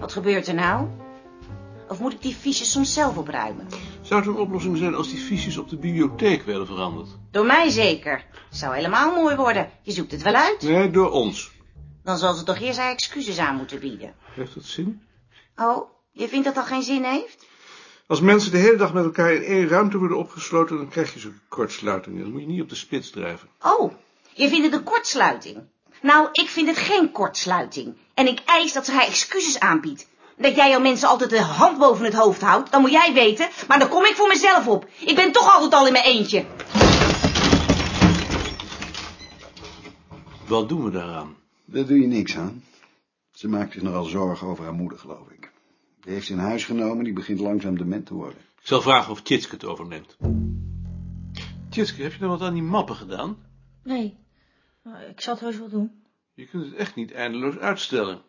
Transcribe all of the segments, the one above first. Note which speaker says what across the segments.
Speaker 1: Wat gebeurt er nou? Of moet ik die fiches soms zelf opruimen?
Speaker 2: Zou het een oplossing zijn als die fiches op de bibliotheek werden veranderd?
Speaker 1: Door mij zeker. Zou helemaal mooi worden. Je zoekt het wel uit.
Speaker 2: Nee, door ons.
Speaker 1: Dan zal ze toch eerst haar excuses aan moeten bieden.
Speaker 2: Heeft dat zin?
Speaker 1: Oh, je vindt dat dat geen zin heeft?
Speaker 2: Als mensen de hele dag met elkaar in één ruimte worden opgesloten, dan krijg je zo'n kortsluiting. Dan moet je niet op de spits drijven.
Speaker 1: Oh, je vindt het een kortsluiting. Nou, ik vind het geen kortsluiting. En ik eis dat ze haar excuses aanbiedt. Dat jij al mensen altijd de hand boven het hoofd houdt, dan moet jij weten. Maar dan kom ik voor mezelf op. Ik ben toch altijd al in mijn eentje.
Speaker 2: Wat doen we daaraan?
Speaker 3: Daar doe je niks aan. Ze maakt zich nogal zorgen over haar moeder, geloof ik. Die heeft ze in huis genomen, die begint langzaam dement te worden.
Speaker 2: Ik zal vragen of Tjitske het overneemt. Tjitske, heb je nou wat aan die mappen gedaan?
Speaker 4: Nee, maar ik zal het heus wel doen. Hm.
Speaker 2: Je kunt het echt niet eindeloos uitstellen.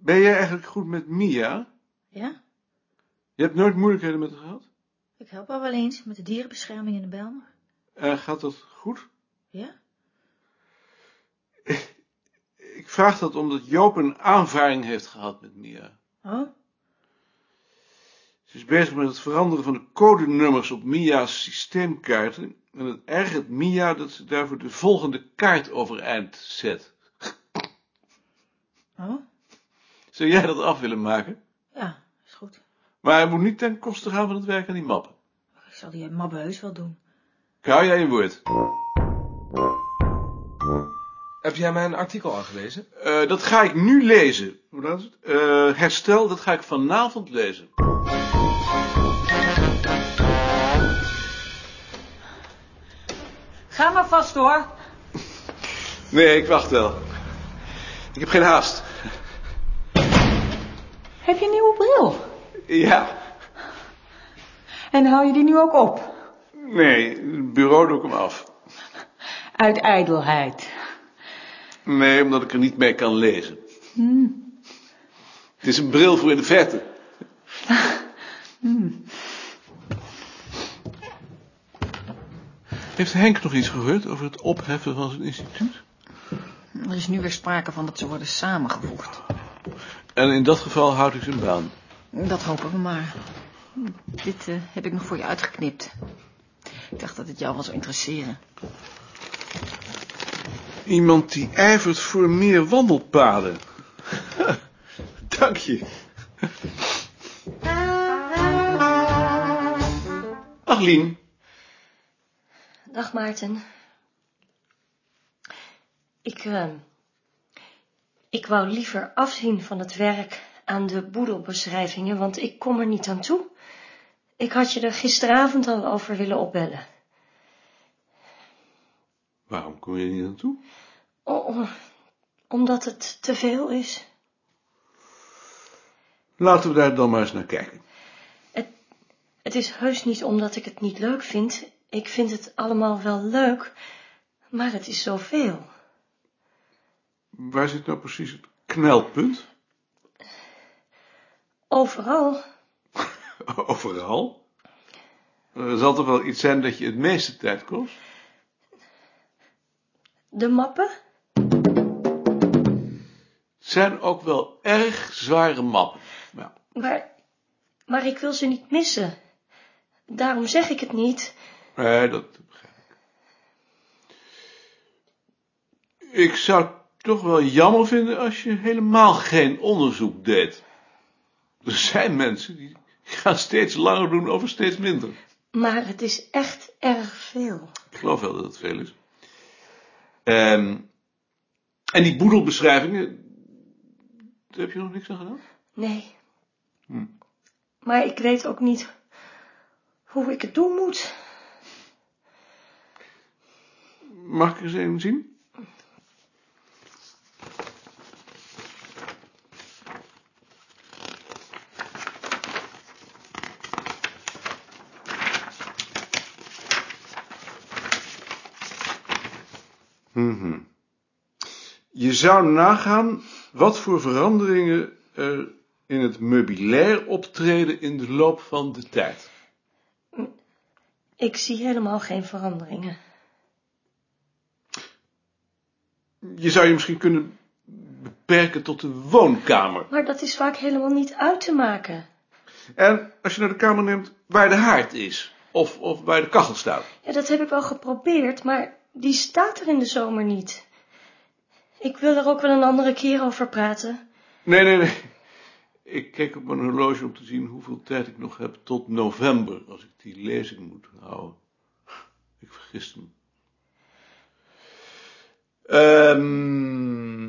Speaker 2: Ben jij eigenlijk goed met Mia?
Speaker 4: Ja?
Speaker 2: Je hebt nooit moeilijkheden met haar gehad?
Speaker 4: Ik help haar wel eens met de dierenbescherming in de Bijlmer.
Speaker 2: En Eh, gaat dat goed?
Speaker 4: Ja?
Speaker 2: Ik vraag dat omdat Joop een aanvaring heeft gehad met Mia.
Speaker 4: Oh?
Speaker 2: Ze is bezig met het veranderen van de codenummers op Mia's systeemkaarten. En het ergert Mia dat ze daarvoor de volgende kaart overeind zet.
Speaker 4: Oh?
Speaker 2: Zou jij dat af willen maken?
Speaker 4: Ja, is goed.
Speaker 2: Maar hij moet niet ten koste gaan van het werk aan die mappen.
Speaker 4: Ik zal die mabbe heus wel doen.
Speaker 2: Ik hou jij je woord.
Speaker 5: Heb jij mijn artikel aangelezen?
Speaker 2: Eh, dat ga ik nu lezen. Hoe laat is het? Eh, herstel, dat ga ik vanavond lezen.
Speaker 6: Ga maar vast hoor.
Speaker 2: Nee, ik wacht wel. Ik heb geen haast.
Speaker 6: Heb je een nieuwe bril?
Speaker 2: Ja,
Speaker 6: En hou je die nu ook op?
Speaker 2: nee, het bureau doe ik hem af.
Speaker 6: Uit ijdelheid.
Speaker 2: Nee, omdat ik er niet mee kan lezen. Het is een bril voor in de verte. Heeft Henk nog iets gehoord over het opheffen van zijn instituut?
Speaker 7: Er is nu weer sprake van dat ze worden samengevoegd.
Speaker 2: En in dat geval houdt hij zijn baan.
Speaker 7: Dat hopen we maar. Hm, Dit eh, heb ik nog voor je uitgeknipt. Ik dacht dat het jou wel zou interesseren.
Speaker 2: Iemand die ijvert voor meer wandelpaden. Dank je. Ach, Lien.
Speaker 8: Dag Maarten. Ik, eh, ik wou liever afzien van het werk aan de boedelbeschrijvingen, want ik kom er niet aan toe. Ik had je er gisteravond al over willen opbellen.
Speaker 2: Waarom kom je er niet naartoe?
Speaker 8: Oh, omdat het te veel is.
Speaker 2: Laten we daar dan maar eens naar kijken.
Speaker 8: Het is heus niet omdat ik het niet leuk vind. Ik vind het allemaal wel leuk, maar het is zoveel.
Speaker 2: Waar zit nou precies het knelpunt?
Speaker 8: Overal
Speaker 2: Overal? Er zal toch wel iets zijn dat je het meeste tijd kost?
Speaker 8: de mappen.
Speaker 2: Het zijn ook wel erg zware mappen. Ja.
Speaker 8: Maar, maar ik wil ze niet missen. Daarom zeg ik het niet.
Speaker 2: Nee, Eh, dat begrijp ik. Ik zou het toch wel jammer vinden als je helemaal geen onderzoek deed. Er zijn mensen die gaan steeds langer doen over steeds minder.
Speaker 8: Maar het is echt erg veel.
Speaker 2: Ik geloof wel dat het veel is. Ehm, en die boedelbeschrijvingen, daar heb je nog niks aan gedaan?
Speaker 8: Nee. Maar ik weet ook niet hoe ik het doen moet.
Speaker 2: Mag ik eens even zien? Mhm. Je zou nagaan wat voor veranderingen er in het meubilair optreden in de loop van de tijd.
Speaker 8: Ik zie helemaal geen veranderingen.
Speaker 2: Je zou je misschien kunnen beperken tot de woonkamer.
Speaker 8: Maar dat is vaak helemaal niet uit te maken.
Speaker 2: En als je naar de kamer neemt waar de haard is. Of, of waar de kachel staat.
Speaker 8: Ja, dat heb ik wel geprobeerd, maar die staat er in de zomer niet. Ik wil er ook wel een andere keer over praten.
Speaker 2: Nee, nee, nee. Ik kijk op mijn horloge om te zien hoeveel tijd ik nog heb tot november. Als ik die lezing moet houden. Ik vergis me. Ehm,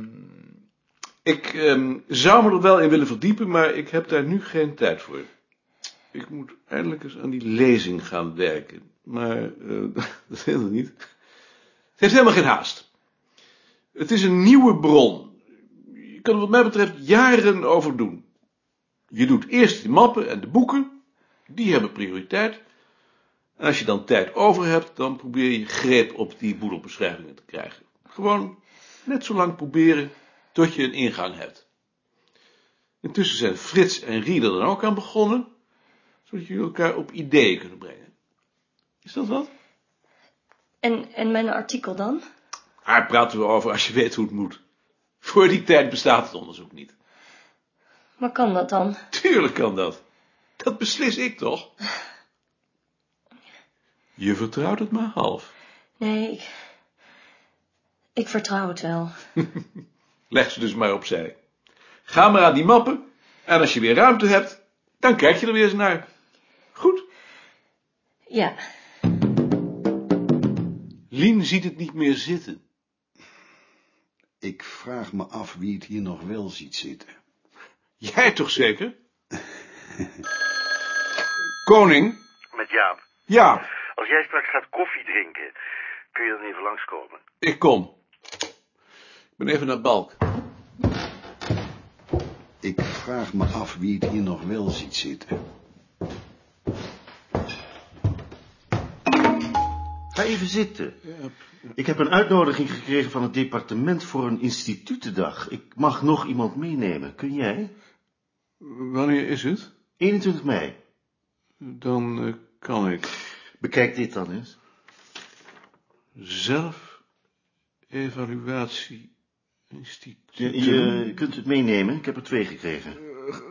Speaker 2: ik ehm, zou me er wel in willen verdiepen, maar ik heb daar nu geen tijd voor. Ik moet eindelijk eens aan die lezing gaan werken. Maar eh, dat helemaal niet. Het heeft helemaal geen haast. Het is een nieuwe bron. Je kan er wat mij betreft jaren over doen. Je doet eerst de mappen en de boeken. Die hebben prioriteit. En als je dan tijd over hebt, dan probeer je greep op die boedelbeschrijvingen te krijgen. Gewoon net zo lang proberen tot je een ingang hebt. Intussen zijn Frits en Rieder er dan ook aan begonnen, zodat jullie elkaar op ideeën kunnen brengen. Is dat wat?
Speaker 8: En, en mijn artikel dan?
Speaker 2: Daar Ah, praten we over als je weet hoe het moet. Voor die tijd bestaat het onderzoek niet.
Speaker 8: Maar kan dat dan?
Speaker 2: Tuurlijk kan dat. Dat beslis ik toch? Je vertrouwt het maar half.
Speaker 8: Nee, ik, ik vertrouw het wel.
Speaker 2: Leg ze dus maar opzij. Ga maar aan die mappen. En als je weer ruimte hebt, dan kijk je er weer eens naar. Goed.
Speaker 8: Ja,
Speaker 2: Lien ziet het niet meer zitten.
Speaker 3: Ik vraag me af wie het hier nog wel ziet zitten.
Speaker 2: Jij toch zeker? Koning?
Speaker 9: Met Jaap.
Speaker 2: Ja,
Speaker 9: Als jij straks gaat koffie drinken, kun je dan even langskomen.
Speaker 2: ik kom. Ik ben even naar Balk.
Speaker 3: Ik vraag me af wie het hier nog wel ziet zitten.
Speaker 10: Ga even zitten. Ik heb een uitnodiging gekregen van het departement voor een institutendag. Ik mag nog iemand meenemen. Kun jij?
Speaker 2: Wanneer is het?
Speaker 10: 21 mei.
Speaker 2: Dan eh, kan ik
Speaker 10: Bekijk dit dan eens.
Speaker 2: zelf evaluatie instituut.
Speaker 10: Je, je kunt het meenemen. Ik heb er twee gekregen.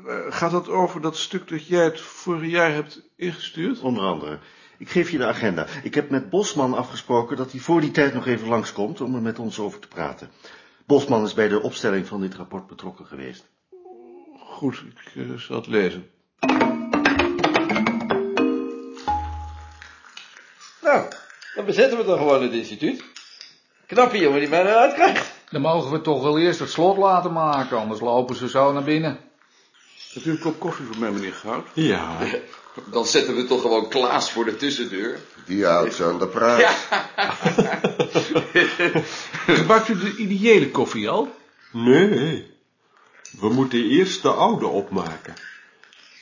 Speaker 2: Eh, Gaat dat over dat stuk dat jij het vorige jaar hebt ingestuurd?
Speaker 10: Onder andere. Ik geef je de agenda. Ik heb met Bosman afgesproken dat hij voor die tijd nog even langskomt om er met ons over te praten. Bosman is bij de opstelling van dit rapport betrokken geweest.
Speaker 2: Goed, ik eh, zal het lezen.
Speaker 11: Nou, dan bezetten we dan gewoon het instituut. Knappe jongen die mij eruit krijgt.
Speaker 12: Dan mogen we toch wel eerst het slot laten maken, anders lopen ze zo naar binnen.
Speaker 2: Hebt u een kop koffie voor mij, meneer Goud?
Speaker 11: Ja. Dan zetten we toch gewoon Klaas voor de tussendeur.
Speaker 13: Die houdt ze aan de praat.
Speaker 2: Gebruikt u de ideële koffie al?
Speaker 14: Nee. We moeten eerst de oude opmaken.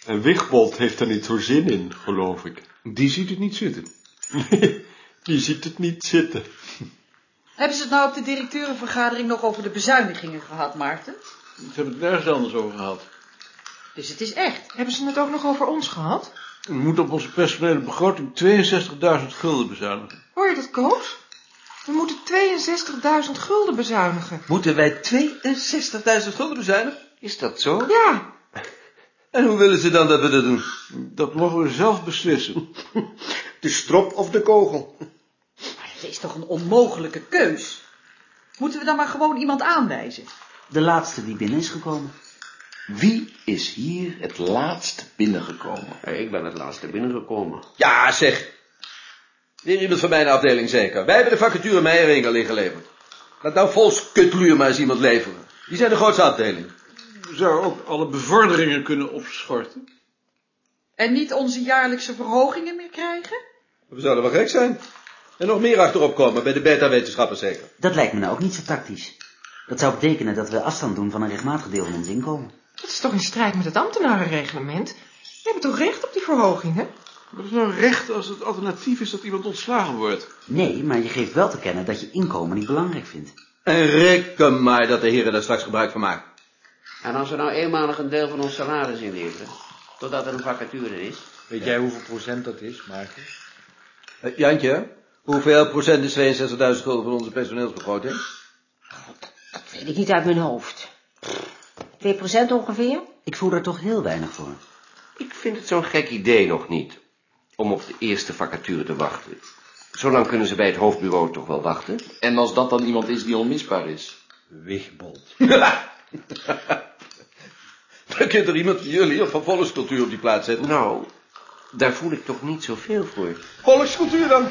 Speaker 14: En Wigbold heeft er niet zo zin in, geloof ik.
Speaker 2: Die ziet het niet zitten.
Speaker 14: Nee, die ziet het niet zitten.
Speaker 15: Hebben ze het nou op de directeurenvergadering nog over de bezuinigingen gehad, Maarten?
Speaker 2: Ze hebben het nergens anders over gehad.
Speaker 15: Dus het is echt. Hebben ze het ook nog over ons gehad?
Speaker 2: We moeten op onze personele begroting 62.000 gulden bezuinigen.
Speaker 16: Hoor je dat, Koos? We moeten 62.000 gulden bezuinigen.
Speaker 11: Moeten wij 62.000 gulden bezuinigen? Is dat zo?
Speaker 16: Ja,
Speaker 11: En hoe willen ze dan dat we dat doen?
Speaker 2: Dat mogen we zelf beslissen.
Speaker 11: De strop of de kogel?
Speaker 15: Dat is toch een onmogelijke keus? Moeten we dan maar gewoon iemand aanwijzen?
Speaker 17: De laatste die binnen is gekomen.
Speaker 11: Wie is hier het laatst binnengekomen?
Speaker 13: Ik ben het laatste binnengekomen.
Speaker 11: Ja, zeg. Weer iemand van mijn afdeling zeker. Wij hebben de vacature Meijering al ingeleverd. Laat nou vols kutluur maar eens iemand leveren. Die zijn de grootste afdeling.
Speaker 2: We zouden ook alle bevorderingen kunnen opschorten.
Speaker 15: En niet onze jaarlijkse verhogingen meer krijgen?
Speaker 11: We zouden wel gek zijn. En nog meer achterop komen, bij de beta-wetenschappers zeker.
Speaker 17: Dat lijkt me nou ook niet zo tactisch. Dat zou betekenen dat we afstand doen van een rechtmatig deel van ons inkomen.
Speaker 16: dat is toch in strijd met het ambtenarenreglement? We hebben toch recht op die verhoging, hè?
Speaker 2: Maar dat is nou recht als het alternatief is dat iemand ontslagen wordt.
Speaker 17: Nee, maar je geeft wel te kennen dat je inkomen niet belangrijk vindt.
Speaker 11: En reken maar dat de heren daar straks gebruik van maken.
Speaker 13: En als we nou eenmalig een deel van ons salaris inleveren, totdat er een vacature is.
Speaker 18: Weet jij hoeveel procent dat is, Maarten?
Speaker 11: Eh, Jantje, hoeveel procent is 62.000 gulden van onze personeelsbegroting?
Speaker 17: Dat
Speaker 19: weet ik niet uit mijn hoofd. 2% ongeveer?
Speaker 17: Ik voel daar toch heel weinig voor.
Speaker 13: Ik vind het zo'n gek idee nog niet. Om op de eerste vacature te wachten. Zolang kunnen ze bij het hoofdbureau toch wel wachten.
Speaker 11: En als dat dan iemand is die onmisbaar is?
Speaker 13: Wigbold.
Speaker 11: Dan kunt er iemand van jullie of van volkscultuur op die plaats zetten.
Speaker 13: Nou, daar voel ik toch niet zoveel voor.
Speaker 11: Volkscultuur dan.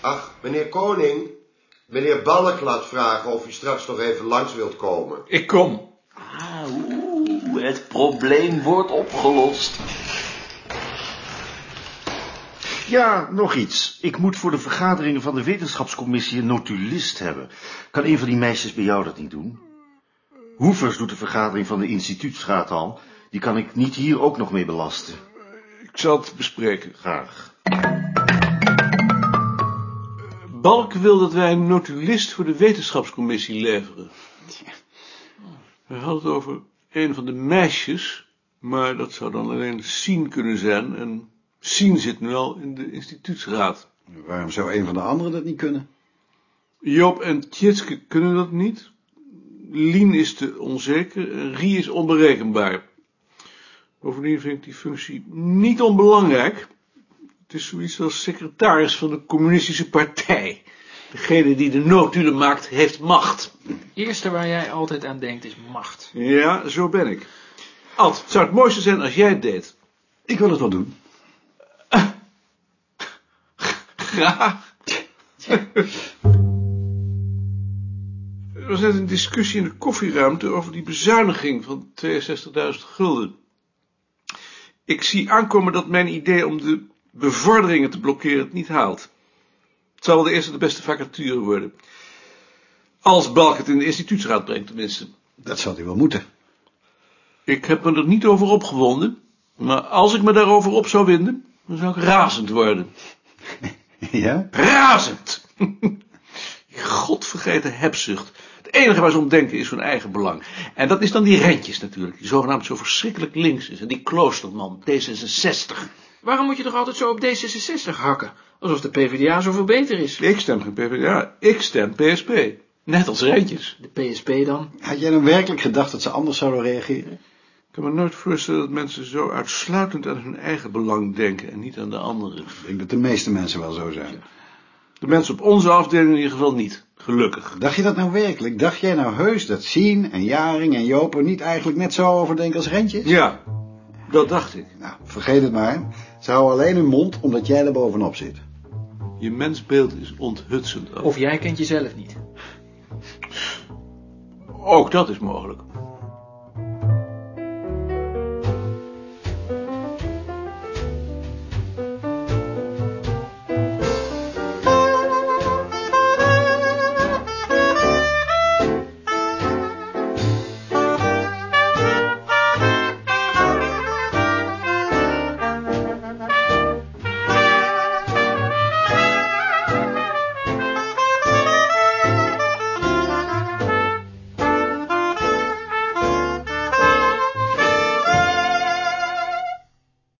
Speaker 20: Ach, meneer Koning, meneer Balk laat vragen of u straks nog even langs wilt komen.
Speaker 11: Ik kom.
Speaker 13: Ah, Oeh, het probleem wordt opgelost.
Speaker 10: Ja, nog iets. Ik moet voor de vergaderingen van de wetenschapscommissie een notulist hebben. Kan een van die meisjes bij jou dat niet doen? Hoevers doet de vergadering van de instituutsraad al. Die kan ik niet hier ook nog mee belasten.
Speaker 2: Ik zal het bespreken.
Speaker 10: Graag.
Speaker 2: Balk wil dat wij een notulist voor de wetenschapscommissie leveren. Hij had het over een van de meisjes, maar dat zou dan alleen Sien kunnen zijn. En Sien zit nu al in de instituutsraad.
Speaker 3: Waarom zou een van de anderen dat niet kunnen?
Speaker 2: Job en Tjitske kunnen dat niet. Lien is te onzeker en Rie is onberekenbaar. Bovendien vind ik die functie niet onbelangrijk. Het is zoiets als secretaris van de communistische partij. Degene die de noodhulen maakt, heeft macht.
Speaker 21: eerste waar jij altijd aan denkt is macht.
Speaker 2: Ja, zo ben ik. Ad, het zou het mooiste zijn als jij het deed.
Speaker 3: Ik wil het wel doen.
Speaker 2: Graag. Er was net een discussie in de koffieruimte over die bezuiniging van 62.000 gulden. Ik zie aankomen dat mijn idee om de bevorderingen te blokkeren het niet haalt. Het zal wel de eerste de beste vacature worden. Als Balk het in de instituutsraad brengt, tenminste.
Speaker 3: Dat zal hij wel moeten.
Speaker 2: Ik heb me er niet over opgewonden, maar als ik me daarover op zou winden, dan zou ik razend worden.
Speaker 3: Ja?
Speaker 2: Razend! Die godvergeten hebzucht. Het enige waar ze om denken is hun eigen belang. En dat is dan die rentjes natuurlijk, die zogenaamd zo verschrikkelijk links is. En die kloosterman, D66.
Speaker 21: Waarom moet je toch altijd zo op D66 hakken? Alsof de PvdA zoveel beter is.
Speaker 2: Ik stem geen PvdA, ik stem PSP. Net als rentjes.
Speaker 21: De PSP dan?
Speaker 3: Had jij dan werkelijk gedacht dat ze anders zouden reageren?
Speaker 2: Ik kan me nooit voorstellen dat mensen zo uitsluitend aan hun eigen belang denken en niet aan de anderen.
Speaker 3: Ik denk dat de meeste mensen wel zo zijn.
Speaker 2: De mensen op onze afdeling in ieder geval niet. Gelukkig.
Speaker 3: Dacht je dat nou werkelijk? Dacht jij nou heus dat Sien en Jaring en Joop er niet eigenlijk net zo over denken als Rentjes?
Speaker 2: Ja, dat dacht ik.
Speaker 3: Nou, vergeet het maar. Ze houden alleen hun mond omdat jij er bovenop zit.
Speaker 2: Je mensbeeld is onthutsend.
Speaker 21: Of jij kent jezelf niet.
Speaker 2: Ook dat is mogelijk.